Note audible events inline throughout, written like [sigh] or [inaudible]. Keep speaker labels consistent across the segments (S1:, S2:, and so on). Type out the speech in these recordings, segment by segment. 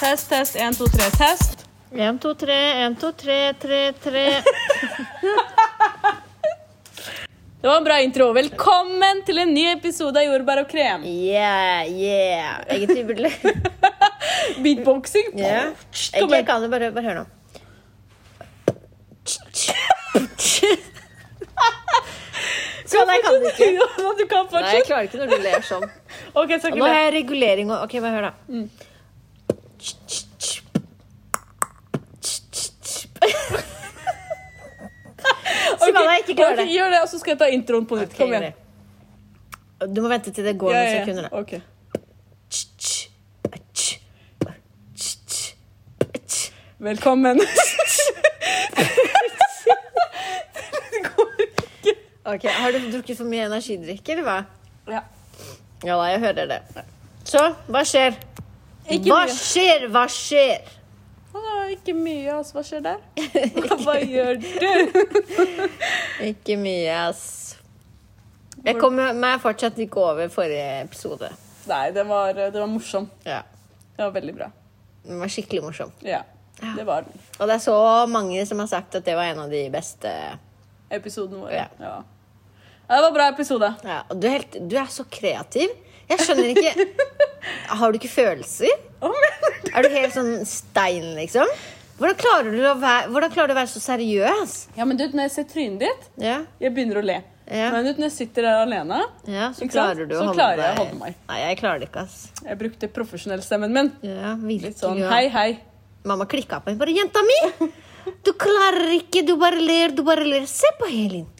S1: Test, test. 1, 2, 3, test.
S2: 1, 2, 3, 1, 2, 3, 3, 3.
S1: Det var en bra intro. Velkommen til en ny episode av Jordbær og krem. [laughs]
S2: Yeah, yeah. Egentlig burde
S1: Beatboxing.
S2: yeah.
S1: Kom
S2: Egentlig jeg
S1: igjen.
S2: kan jo bare, bare hør nå. Så nei, jeg kan det ikke.
S1: Jo, Du kan
S2: Nei, jeg
S1: fortsette.
S2: klarer ikke når du ler sånn.
S1: Ok, så
S2: Og nå
S1: ikke det.
S2: har jeg regulering og OK, bare hør, da.
S1: Mm.
S2: [laughs] Så kan jeg ikke
S1: Ok,
S2: klare
S1: ok,
S2: det.
S1: Gjør det, og så skal jeg ta introen på nytt. Kom igjen.
S2: Du må vente til det går
S1: Ja,
S2: noen
S1: ja,
S2: sekunder.
S1: ja.
S2: da.
S1: Ok.
S2: [laughs]
S1: Velkommen. Det går ikke.
S2: Ok, Har du drukket for mye energidrikk, eller hva?
S1: Ja.
S2: Ja da, jeg hører det. Så, hva skjer?
S1: Ikke
S2: hva
S1: mye.
S2: skjer, hva skjer?
S1: Å, Ikke mye, ass. Hva skjer
S2: [laughs]
S1: der? Hva, hva gjør du?
S2: Ikke mye, ass. Jeg kommer meg fortsatt ikke over forrige episode.
S1: Nei, det var, det var morsom.
S2: Ja.
S1: Det var veldig bra.
S2: Den var skikkelig morsom.
S1: Ja, det var den.
S2: Og det er så mange som har sagt at det var en av de beste.
S1: Episoden vår.
S2: Ja.
S1: Ja. Ja. Det var en bra
S2: [laughs]
S1: episode.
S2: Ja, og du, er helt, du er så kreativ. Jeg skjønner [laughs] ikke Har du ikke følelser?
S1: Å, men-
S2: Er du helt sånn stein, liksom? Hvordan klarer du å være, hvordan klarer du å være så seriøs?
S1: Ja, men du, vet, Når jeg ser trynet ditt,
S2: Ja,
S1: jeg begynner å le.
S2: Ja.
S1: Men du, vet, når jeg sitter der alene
S2: ja så
S1: Ikke sant?
S2: klarer du å
S1: Så
S2: holde
S1: klarer jeg
S2: deg
S1: å holde meg.
S2: Nei, jeg klarer det ikke, ass.
S1: Jeg brukte profesjonellstemmen min.
S2: Ja, virkelig.
S1: Litt sånn
S2: ja.
S1: hei, hei.
S2: Mamma klikka på henne. Bare 'Jenta mi! Du klarer ikke! Du bare ler, du bare ler. Se på Helin!'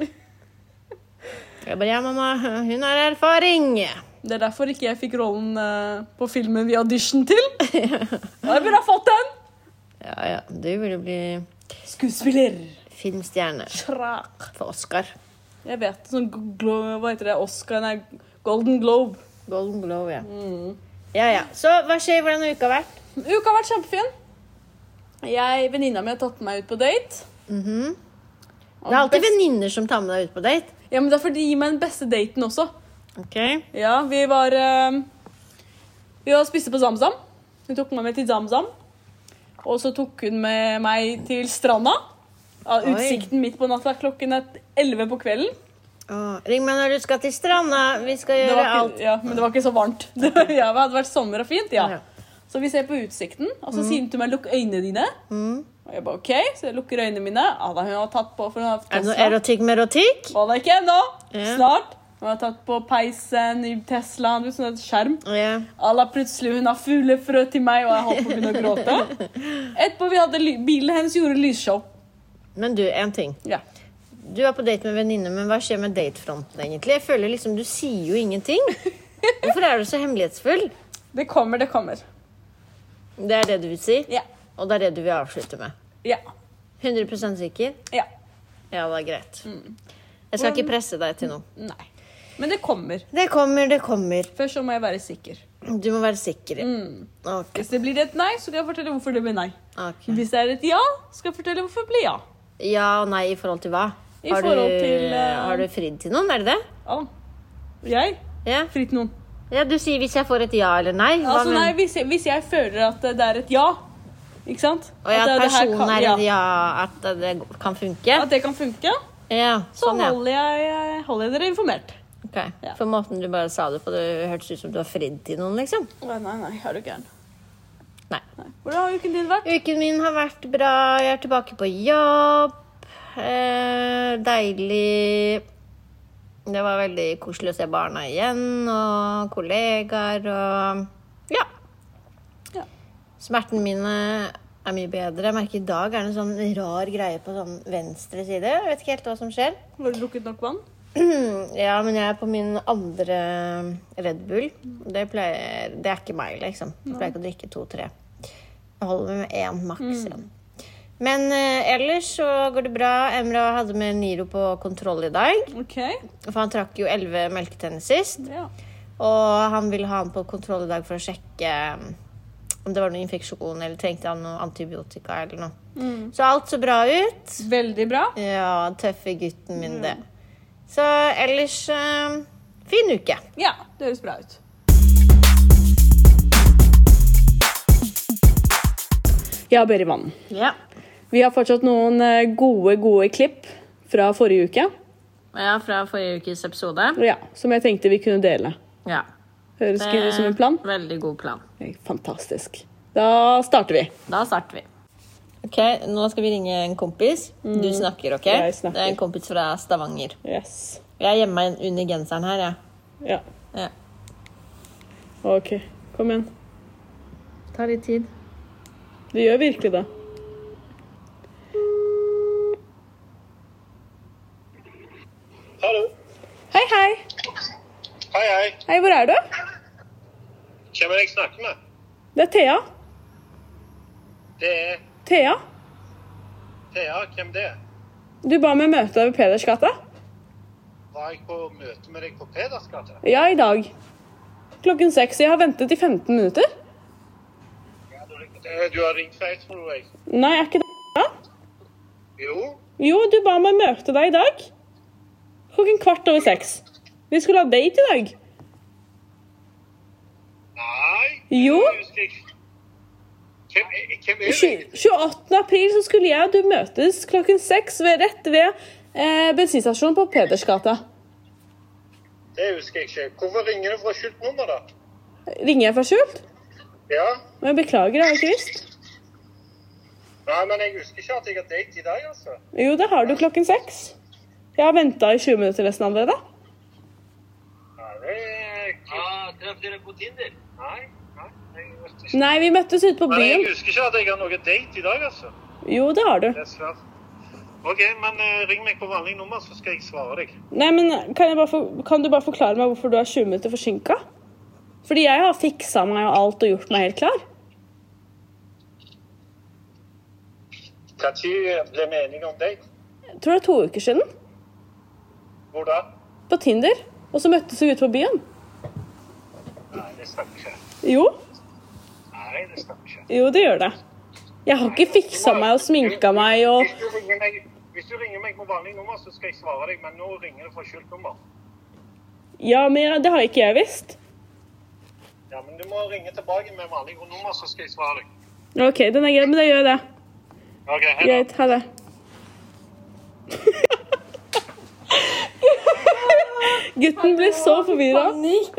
S2: Jeg bare 'Ja, mamma. Hun har erfaring'.
S1: Det er derfor ikke jeg fikk rollen eh, på filmen vi audition til. Jeg burde ha fått den!
S2: Ja, ja. Du burde bli
S1: Skuespiller.
S2: filmstjerne
S1: Trak.
S2: for Oscar.
S1: Jeg vet. Sånn glo, hva heter det? Oscar, nei, Golden Globe.
S2: Golden Glow, ja.
S1: Mm.
S2: Ja, ja. Så hva skjer? Hvordan har uka vært?
S1: Uka har vært kjempefin. Jeg, Venninna mi har tatt meg ut på date. Mm-hmm.
S2: Det er alltid venninner som tar med deg ut på date.
S1: Ja, men det er fordi de gir meg den beste daten også.
S2: Ok.
S1: Ja, vi var eh, Vi var og spiste på Zamzam. Hun tok meg med til Zamzam. Og så tok hun med meg til stranda. Ja,
S2: Oi.
S1: utsikten midt på natta. Klokken er 11 på kvelden.
S2: Å, ring meg når du skal til stranda. Vi skal
S1: Det
S2: gjøre
S1: var
S2: alt.
S1: ikke, ja, men det var ikke så varmt. [laughs] Det var- ja, det hadde vært sommer og fint.
S2: Ja. Mm.
S1: ja. Så vi ser på utsikten, og så sier hun til meg 'lukk øynene dine'. Og jeg bare OK, så jeg lukker øynene mine. Ja, da hun har tatt på for hun har
S2: Er det noe
S1: Tesla.
S2: erotikk med erotikk?
S1: Var det ikke ennå?
S2: Ja.
S1: Snart. Hun har tatt på peisen i Teslaen, du, sånn et skjerm.
S2: Ja.
S1: Alla plutselig hun har fuglefrø til meg, og jeg holdt på å begynne å gråte. Etterpå vi hadde ly- bilen hennes gjorde lysshow.
S2: Men du, én ting.
S1: Ja.
S2: Du var på date med venninne, men hva skjer med datefronten egentlig? Jeg føler liksom, Du sier jo
S1: [laughs]
S2: ingenting. Hvorfor er du så hemmelighetsfull?
S1: Det kommer, det kommer.
S2: Det er det du vil si,
S1: Ja.
S2: og det er det du vil avslutte med.
S1: Ja.
S2: 100 sikker?
S1: Ja.
S2: Ja, det er greit.
S1: Mm.
S2: Jeg skal ikke presse deg til noe.
S1: Nei. Men det kommer.
S2: Det kommer, det kommer.
S1: Først så må jeg være sikker.
S2: Du må være sikker. ja.
S1: Mm.
S2: Ok.
S1: Hvis det blir et nei, så kan jeg fortelle hvorfor det blir nei.
S2: ok.
S1: Hvis det er et ja, skal jeg fortelle hvorfor det blir ja.
S2: Ja og nei i forhold til hva?
S1: I forhold til, eh,
S2: har du fridd til noen? Er det det?
S1: ja. Jeg?
S2: Ja.
S1: Fritt noen.
S2: ja, du sier hvis jeg får et ja eller nei. Hva
S1: Altså nei,
S2: mener-
S1: hvis jeg, hvis jeg føler at det er et ja, ikke sant?
S2: Og ja,
S1: det-
S2: at
S1: det her
S2: personen
S1: kan-
S2: er
S1: ja.
S2: et ja, at det kan funke?
S1: At det kan funke,
S2: Ja,
S1: så
S2: sånn ja.
S1: holder jeg, holder jeg dere informert.
S2: Ok,
S1: Ja.
S2: For måten du bare sa det på, det hørtes ut som du har fridd til noen, liksom.
S1: Nei, nei, nei, er du gæren.
S2: Nei.
S1: Hvordan har uken din vært?
S2: Uken min har vært bra. Jeg er tilbake på jobb. Eh, deilig. Det var veldig koselig å se barna igjen, og kollegaer og Ja.
S1: Ja.
S2: Smertene mine er mye bedre. Jeg merker i dag er det en sånn rar greie på sånn venstre side. Jeg vet ikke helt hva som skjer.
S1: Har du drukket nok vann?
S2: [clears throat] Ja, men jeg er på min andre Red Bull. Det, pleier, det er ikke meg, liksom. Jeg pleier ikke å drikke to-tre. Jeg holder meg med én maks. igjen. Men eh, ellers så går det bra. Emra hadde med Niro på kontroll i dag.
S1: Ok.
S2: For han trakk jo elleve melketenner sist.
S1: Ja.
S2: Og han ville ha han på kontroll i dag for å sjekke mm, om det var noe infeksjon eller trengte han noe antibiotika eller noe. Så alt så bra ut.
S1: Veldig bra.
S2: Ja, tøffe gutten min, det. Så ellers eh, fin uke.
S1: Ja, det høres bra ut. Ja, Berryvann.
S2: Ja.
S1: Vi har fortsatt noen eh, gode, gode klipp fra forrige uke.
S2: ja, fra forrige ukes episode.
S1: Ja, som jeg tenkte vi kunne dele.
S2: Ja.
S1: Høres ikke ut som en plan?
S2: Veldig god plan.
S1: Fantastisk. Da starter vi.
S2: Da starter vi. Ok, Nå skal vi ringe en kompis. Du snakker, OK?
S1: Mm. Jeg snakker.
S2: Det er en kompis fra Stavanger.
S1: Yes.
S2: Jeg er hjemme under genseren her, jeg.
S1: Ja.
S2: Ja.
S1: OK. Kom igjen.
S2: Tar litt tid.
S1: Det gjør virkelig det.
S3: Hallo.
S1: Hei, hei.
S3: Hei, hei.
S1: Hei, hvor er du?
S3: Hvem er det jeg snakker med?
S1: Det er Thea.
S3: Det er
S1: Thea,
S3: Thea. Hvem det er?
S1: du ba meg møte deg ved Peders gate.
S3: Var jeg på møte med deg på Peders gate?
S1: Ja, i dag. Klokken seks. Jeg har ventet i 15 minutter.
S3: Eh, Du har ringt feil, tror jeg.
S1: Nei, er ikke det bra?
S3: Jo.
S1: Jo, du ba meg møte deg i dag. Klokken kvart over seks. Vi skulle ha date i dag.
S3: Nei.
S1: Jo.
S3: Jeg husker ikke. Hvem, er- hvem er
S1: Tju-
S3: det?
S1: 28. april så skulle jeg og du møtes klokken seks ved, rett ved eh, bensinstasjonen på Pedersgata.
S3: Det husker jeg ikke. Hvorfor ringer du fra skjult nummer, da?
S1: Ringer jeg fra skjult?
S3: Ja.
S1: Men jeg beklager, jeg har ikke visst.
S3: Nei, men jeg husker ikke at jeg har date i dag, altså.
S1: Jo, det har du klokken seks. Jeg har venta i 20 minutter nesten allerede.
S3: Nei, det er Ja, Traff dere på Tinder? Nei. nei, jeg vet ikke.
S1: Nei, vi møttes ute på
S3: Men jeg
S1: byen.
S3: husker ikke at jeg har noe date i dag, altså.
S1: Jo, det har du.
S3: Dessverre. OK, men eh, ring meg på vanlig nummer, så skal jeg svare deg.
S1: Nei, men kan, jeg bare for, kan du bare forklare meg hvorfor du er 20 minutter forsinka? Fordi jeg har fiksa meg og alt og gjort meg helt klar.
S3: Når ble vi enige om date?
S1: Jeg tror det er to uker siden.
S3: Hvor da?
S1: På Tinder. Og så møttes vi ute på byen.
S3: Nei, det stemmer ikke.
S1: Jo,
S3: Nei, det stemmer ikke.
S1: jo det gjør det. Jeg har ikke fiksa meg og sminka meg og
S3: Hvis du ringer meg, hvis du ringer meg på vanlig nummer, så skal jeg svare deg, men nå ringer du fra skjult nummer.
S1: Ja, men det har ikke jeg visst.
S3: Ja, men du må ringe tilbake med vanlig nummer, så skal jeg svare deg.
S1: OK, den er grei, men da gjør jeg det.
S3: OK, hei da.
S1: Greit, ha det. Gutten blir så forvirra.
S2: Panikk!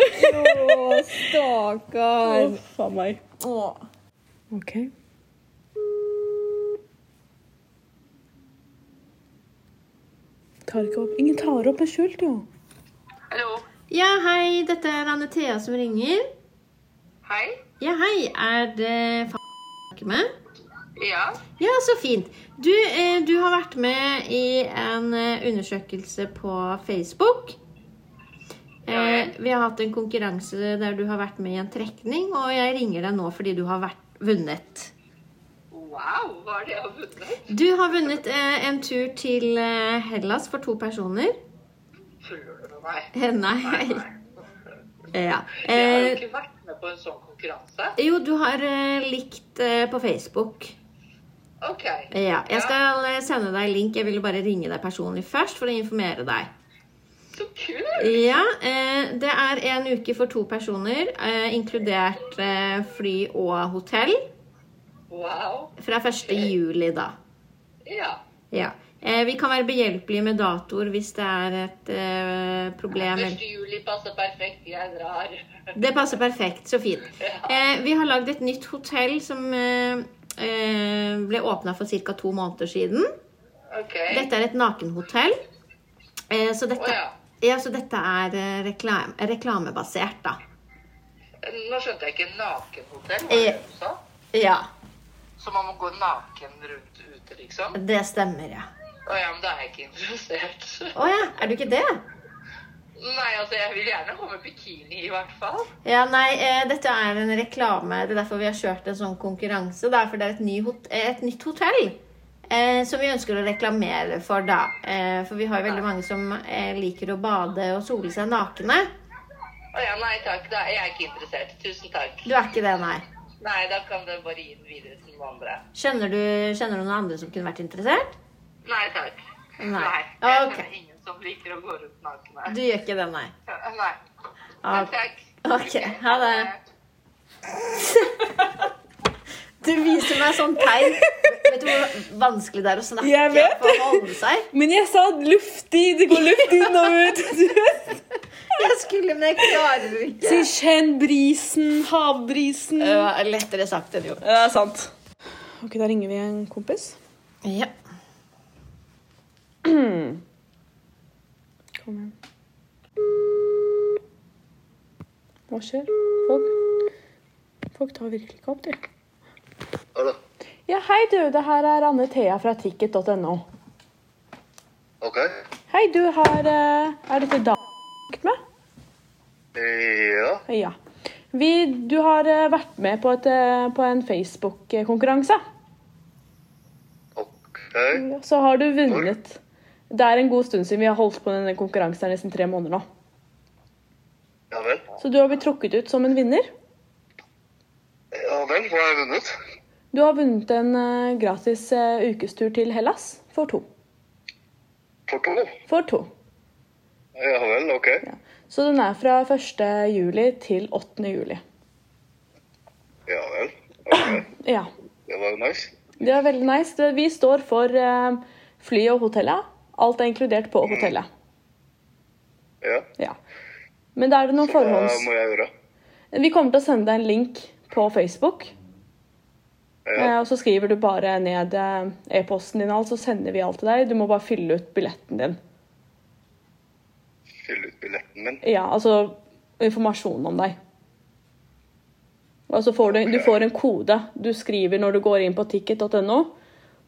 S2: Å, stakkar.
S1: Faen meg. OK. Tar ikke opp. Ingen tar opp med skjult, jo.
S4: Hallo.
S2: Ja, hei. Dette er Anne Thea som ringer.
S4: Hei.
S2: Ja, hei. Er det faen jeg snakker med?
S4: Ja.
S2: Ja, så fint. Du, eh, du har vært med i en eh, undersøkelse på Facebook. Eh, vi har hatt en konkurranse der du har vært med i en trekning, og jeg ringer deg nå fordi du har vært, vunnet.
S4: Wow, hva er det jeg har vunnet?
S2: Du har vunnet eh, en tur til eh, Hellas for to personer. [laughs]
S4: Tuller du med meg?
S2: Eh, nei. [laughs] Ja.
S4: Jeg har jo
S2: Eh,
S4: ikke vært med på en sånn konkurranse.
S2: jo, du har eh, likt eh, på Facebook.
S4: Ok.
S2: Ja, jeg skal eh, sende deg link. Jeg ville bare ringe deg personlig først for å informere deg.
S4: Så kult!
S2: Ja, eh, det er en uke for to personer, eh, inkludert eh, fly og hotell.
S4: Wow.
S2: Fra 1. juli, da.
S4: Ja.
S2: Ja. Eh, vi kan være behjelpelige med datoer hvis det er et eh, problem.
S4: 1. juli passer perfekt. Jeg drar.
S2: Det passer perfekt. Så fint. Eh, vi har lagd et nytt hotell som eh, eh, ble åpna for ca. to måneder siden.
S4: Ok.
S2: Dette er et nakenhotell. Eh, så, dette,
S4: Å, ja.
S2: ja, så dette er eh, reklam, reklamebasert, da.
S4: Nå skjønte jeg ikke nakenhotell, hva
S2: Eh.
S4: var det du sa?
S2: Ja,
S4: Så man må gå naken rundt ute, liksom?
S2: det stemmer, ja.
S4: Å ja, men da er jeg ikke interessert.
S2: Å ja, er du ikke det?
S4: Nei, altså, jeg vil gjerne ha med bikini i hvert fall.
S2: Ja, nei, eh, dette er en reklame. Det er derfor vi har kjørt en sånn konkurranse. Da, for det er et, ny hot eh, et nytt hotell eh, som vi ønsker å reklamere for, da. Eh, for vi har jo veldig mange som eh, liker å bade og sole seg nakne.
S4: Å ja, nei takk, da er jeg ikke interessert. Tusen takk.
S2: Du er ikke det, nei.
S4: Nei, da kan du bare gi den videre til noen andre.
S2: Kjenner du, kjenner du noen andre som kunne vært interessert?
S4: Nei takk.
S2: Nei.
S4: jeg
S2: Ok.
S4: kjenner ingen som liker å gå rundt nakne.
S2: Du gjør ikke det, nei.
S4: Nei.
S2: Ah.
S4: Takk, takk.
S2: Ok, ha det. Du viser meg sånn tegn. Vet du hvor vanskelig det er å snakke
S1: Jeg vet.
S2: og holde seg?
S1: Men jeg sa luftig. Det går luft inn og ut. [laughs]
S2: Jeg skulle, men jeg klarer det ikke.
S1: Si kjenn brisen, havbrisen.
S2: Det var lettere sagt enn gjort.
S1: Det er sant. Ok, da ringer vi en kompis.
S2: Ja.
S1: Kom igjen. Hva skjer? Folk Folk tar virkelig ikke opp, de.
S5: Hallo.
S1: Ja, hei, du. Det her er Anne Thea fra ticket.no.
S5: Ok.
S1: Hei, du har eh, Er dette da med?
S5: Ja.
S1: Ja. Vi, du har eh, vært med på, et, eh, på en Facebook-konkurranse.
S5: Ok.
S1: Så har du vunnet. Det er en god stund siden vi har holdt på denne konkurransen. Det er nesten tre måneder nå.
S5: Ja vel.
S1: Så du har blitt trukket ut som en vinner.
S5: Ja vel, hva har jeg vunnet?
S1: Du har vunnet en eh, gratis eh, ukestur til Hellas for to.
S5: For to?
S1: For to.
S5: Ja vel, ok.
S1: Ja. Så den er fra 1. juli til 8. juli.
S5: Ja vel. Ok.
S1: Ja.
S5: Det var jo nice.
S1: Det er veldig nice. Det- Vi står for eh, fly og hotellet. Alt er inkludert på hotellet.
S5: Ja.
S1: Ja. Men da er det noen
S5: Hva
S1: forhånds...
S5: må jeg gjøre?
S1: Vi kommer til å sende deg en link på Facebook.
S5: Ja.
S1: Eh, Og så skriver du bare ned eh, e-posten din, og alt, så sender vi alt til deg. Du må bare fylle ut billetten din.
S5: Fylle ut billetten min.
S1: Ja, altså informasjon om deg. Og så får du, du får en kode du skriver når du går inn på ticket.no.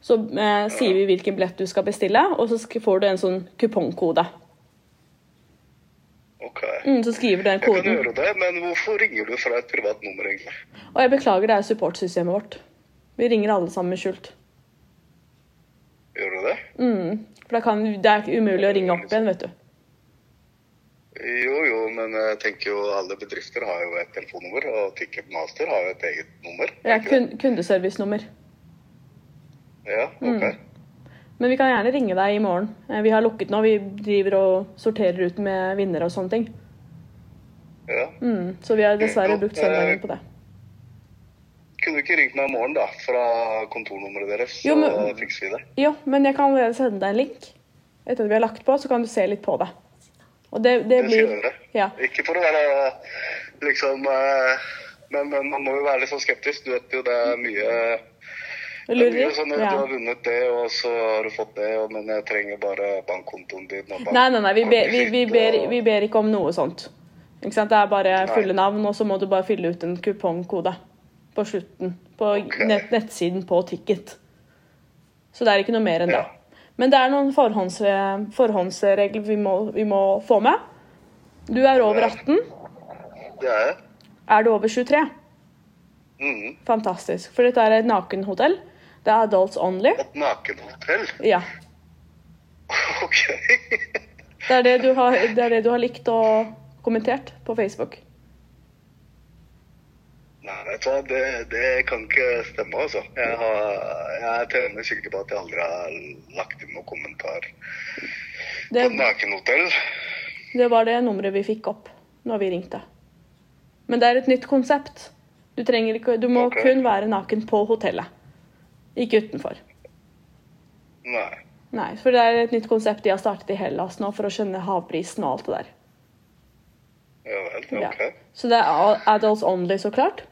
S1: Så eh, sier vi hvilken billett du skal bestille, og så sk- får du en sånn kupongkode.
S5: Ok.
S1: Mm, så skriver du den
S5: Jeg kan
S1: koden.
S5: gjøre det, men hvorfor ringer du fra et privat nummer egentlig?
S1: Og jeg beklager, det er supportsystemet vårt. Vi ringer alle sammen med skjult.
S5: Gjør du det?
S1: Mm. For da kan, det er umulig å ringe opp igjen, vet du.
S5: Jo jo, men jeg tenker jo alle bedrifter har jo et telefonnummer, og Ticketmaster har jo et eget nummer.
S1: Det er
S5: ikke det?
S1: kun, kundeservicenummer.
S5: Ja, ok.
S1: Mm. Men vi kan gjerne ringe deg i morgen. Eh, Vi har lukket nå. Vi driver og sorterer ut med vinnere og sånne ting.
S5: Ja.
S1: Mm, så vi har dessverre brukt søndagen på det.
S5: Kunne du ikke ringt meg i morgen, da? Fra kontornummeret deres, så
S1: Jo, men-
S5: fikser vi det.
S1: Jo, men jeg kan allerede sende deg en link. Etter at vi har lagt på, så kan du se litt på det. Og det, det
S5: Det skal jeg
S1: blir
S5: gjøre.
S1: Ja.
S5: Ikke for å være liksom eh, men, men man må jo være litt sånn skeptisk. Du vet jo det er mye, det er
S1: Lurer.
S5: mye sånn at
S1: Ja.
S5: Du har vunnet det, og så har du fått det, og- men jeg trenger bare bankkontoen din. Og bank-
S1: Nei, nei, nei. Vi ber, vi, vi, ber,
S5: eh,
S1: vi ber ikke om noe sånt. Ikke sant? Det er bare fulle navn, og så må du bare fylle ut en kupongkode på slutten. På
S5: Ok.
S1: nett, nettsiden på Ticket. Så det er ikke noe mer enn det.
S5: Ja.
S1: Men det er noen forhånds, forhåndsregler vi må, vi må få med. Du er over 18.
S5: Det er jeg.
S1: Er du over 23?
S5: Mm.
S1: Fantastisk. For dette er et nakenhotell. Det er adults only.
S5: Et nakenhotell? [laughs]
S1: Ja.
S5: OK.
S1: Det er det du har, det er det du har likt og kommentert på Facebook.
S5: Nei, vet du hva, det, det kan ikke stemme, altså. Jeg, har, jeg er temmelig sikker på at jeg aldri har lagt inn noen kommentar.
S1: Det,
S5: Et nakenhotell?
S1: det var det nummeret vi fikk opp når vi ringte. Men det er et nytt konsept. Du, trenger ikke, du må
S5: Ok.
S1: kun være naken på hotellet. Ikke utenfor.
S5: Nei.
S1: Nei, for det er et nytt konsept de har startet i Hellas nå for å skjønne havprisen og alt det der.
S5: Ja vel,
S1: Ja.
S5: OK.
S1: Så det er adults only, så klart.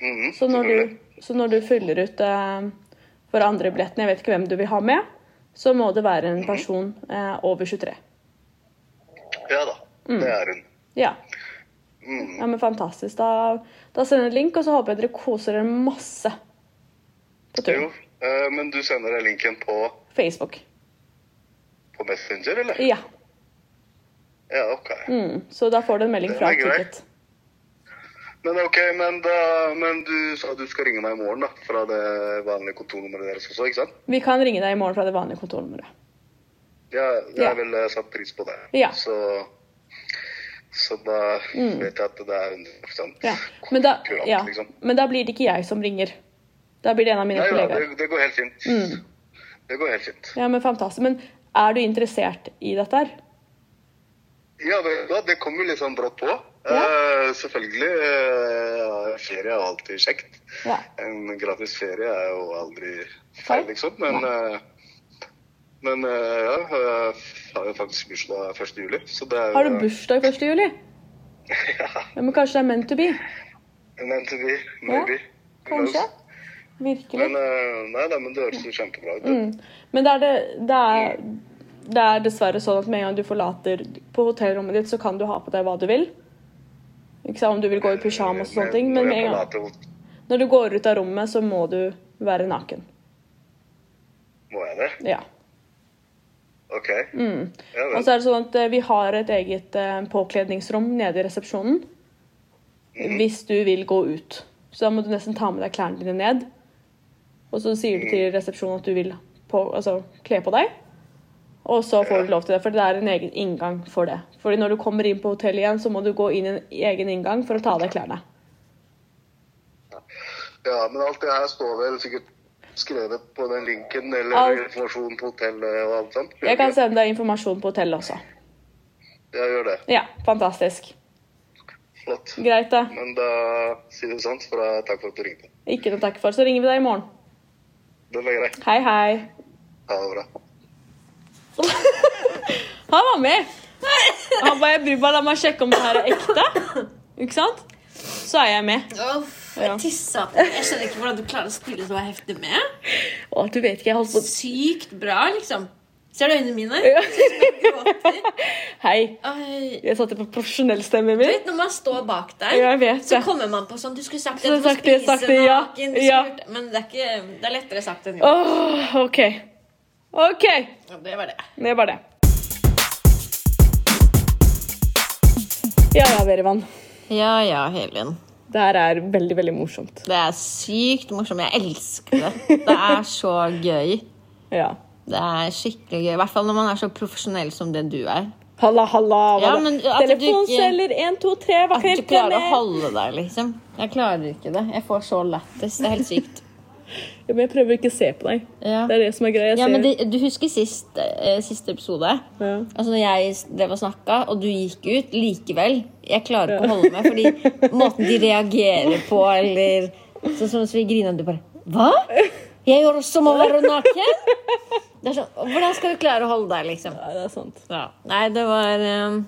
S5: Mhm,
S1: Så når du,
S5: selvfølgelig.
S1: så når du fyller ut eh, for andre billetten, jeg vet ikke hvem du vil ha med, så må det være
S5: Mhm.
S1: en person eh, over 23.
S5: Ja da, det er hun.
S1: Ja.
S5: Mm.
S1: ja, men fantastisk. Da, da sender jeg en link, og så håper jeg dere koser dere masse på
S5: Jo,
S1: turen.
S5: eh, men du sender deg linken på,
S1: Facebook.
S5: på Messenger, eller?
S1: Ja.
S5: Ja, ok.
S1: Mm. Så da får du en melding
S5: Det
S1: fra
S5: er greit.
S1: Ticket.
S5: Men ok, men, da, men du sa du skal ringe meg i morgen, da. Fra det vanlige kontornummeret deres også, ikke sant?
S1: Vi kan ringe deg i morgen fra det vanlige kontornummeret.
S5: Ja, jeg
S1: Ja.
S5: har vel eh, satt pris på det.
S1: Ja. Mm.
S5: Så, så da vet jeg at det er 100
S1: Ja. Men, da,
S5: kurant,
S1: ja.
S5: liksom.
S1: Men da blir det ikke jeg som ringer. Da blir det en av mine
S5: Nei, ja, det,
S1: kollegaer.
S5: det går helt fint.
S1: Mm.
S5: Det går helt fint.
S1: Ja, men fantastisk. Men er du interessert i dette her?
S5: Ja, vet du hva, det kom jo litt sånn brått på.
S1: Ja.
S5: Eh, selvfølgelig. eh, Ferie er alltid kjekt.
S1: Ja.
S5: En gratis ferie er jo aldri feil,
S1: Feil?
S5: liksom. Men, eh, men eh, ja, jeg har jo faktisk bursdag 1. juli, så det er jo
S1: Har du bursdag 1. juli?
S5: [laughs] Ja.
S1: Ja, men kanskje det er meant to be?
S5: Men to be, maybe. Who knows?
S1: Kanskje? Virkelig.
S5: Men, eh, nei, nei, men det høres jo
S1: Mm.
S5: kjempebra ut. det.
S1: Men det er, det, det, er, det er dessverre sånn at med en gang du forlater på hotellrommet ditt, så kan du ha på deg hva du vil. Ikke sant? Om du vil gå i pysjamas og sånne ting, men
S5: når
S1: med
S5: jeg
S1: en gang,
S5: forlater hot-
S1: når du går ut av rommet, så må du være naken.
S5: Må jeg det?
S1: Ja.
S5: OK.
S1: Mm.
S5: Ja, vel.
S1: Og så er det sånn at eh, vi har et eget eh, påkledningsrom nede i resepsjonen. Hvis du vil gå ut. Så da må du nesten ta med deg klærne dine ned. Og så sier du til resepsjonen at du vil på, altså, kle på deg. Og så får du lov til det, for det er en egen inngang for det. Fordi når du kommer inn på hotellet igjen, så må du gå inn i en egen inngang for å ta av deg klærne.
S5: ja, men alt det her står vel sikkert skrevet på den linken eller
S1: Alt.
S5: informasjon på hotellet og alt sånt?
S1: Jeg kan sende deg informasjon på hotellet også.
S5: Ja, gjør det.
S1: Ja, fantastisk.
S5: Flott.
S1: Greit, det.
S5: Men da sier du sånt, for da takk for at du ringte.
S1: Ikke noe takk for. Så ringer vi deg i morgen.
S5: Det var greit.
S1: Hei, hei.
S5: Ha det bra.
S1: Han var med. Han bare jeg bryr meg, La meg sjekke om det her er ekte. Ikke sant? Så er jeg med.
S6: Uff,
S1: Ja.
S6: jeg tissa på Jeg skjønner ikke hvordan du klarer å spille så heftig med.
S1: Å, du vet ikke, jeg holdt
S2: [laughs]
S1: på
S6: Sykt bra, liksom. Ser du øynene mine?
S1: Ja.
S6: Jeg gråter.
S1: Hei.
S6: Oi.
S1: Jeg satte på profesjonell stemme
S6: Du
S1: min.
S6: vet når man står bak der,
S1: Ja, jeg vet
S6: så
S1: det.
S6: kommer man på sånn Du skulle sagt
S1: Så
S6: det, du må
S1: sagt det,
S6: spise
S1: sagt det, ja.
S6: naken. du
S1: Ja.
S6: skulle gjort det. Men det er, ikke, det er lettere sagt enn gjort.
S1: Åh, OK. OK.
S6: Ja, Det var det.
S1: Det var det. Ja ja, Verivan.
S2: Ja ja, Helin.
S1: Det her er veldig, veldig morsomt.
S2: Det er sykt morsomt. Jeg elsker det. Det er så gøy.
S1: Ja.
S2: Det er skikkelig gøy. I hvert fall når man er så profesjonell som det du er.
S1: Halla, halla. hva
S2: Ja,
S1: da?
S2: men at du ikke-
S1: Telefonceller 1, 2, 3. Hva
S2: At
S1: kan
S2: du
S1: jeg hjelpe
S2: klarer å
S1: med?
S2: holde deg, liksom. Jeg klarer ikke det. Jeg får så lættis. Det er helt [laughs] sykt.
S1: Ja, men jeg prøver ikke å se på deg.
S2: Ja.
S1: Det er det som er greia. Jeg
S2: Ja,
S1: ser-
S2: men det, Du husker sist, eh, siste episode?
S1: Ja.
S2: Altså når jeg drev og snakka, og du gikk ut likevel. Jeg klarer ikke å holde meg,
S1: [laughs]
S2: fordi måten de reagerer på, eller sånn som svigerinna Du bare Hva? Jeg gjør også må være naken? Det er sånn, hvordan skal du klare å holde deg, liksom?
S1: Nei, det er sant.
S2: Ja. Nei, det var eh,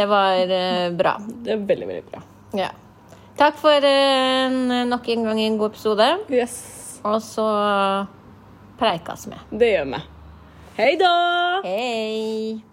S2: Det var eh, bra.
S1: Det er veldig, veldig bra.
S2: Ja. Takk for eh, en- nok en gang en god episode.
S1: Yes.
S2: Og så preikas vi.
S1: Det gjør vi. Hei da!
S2: Hei!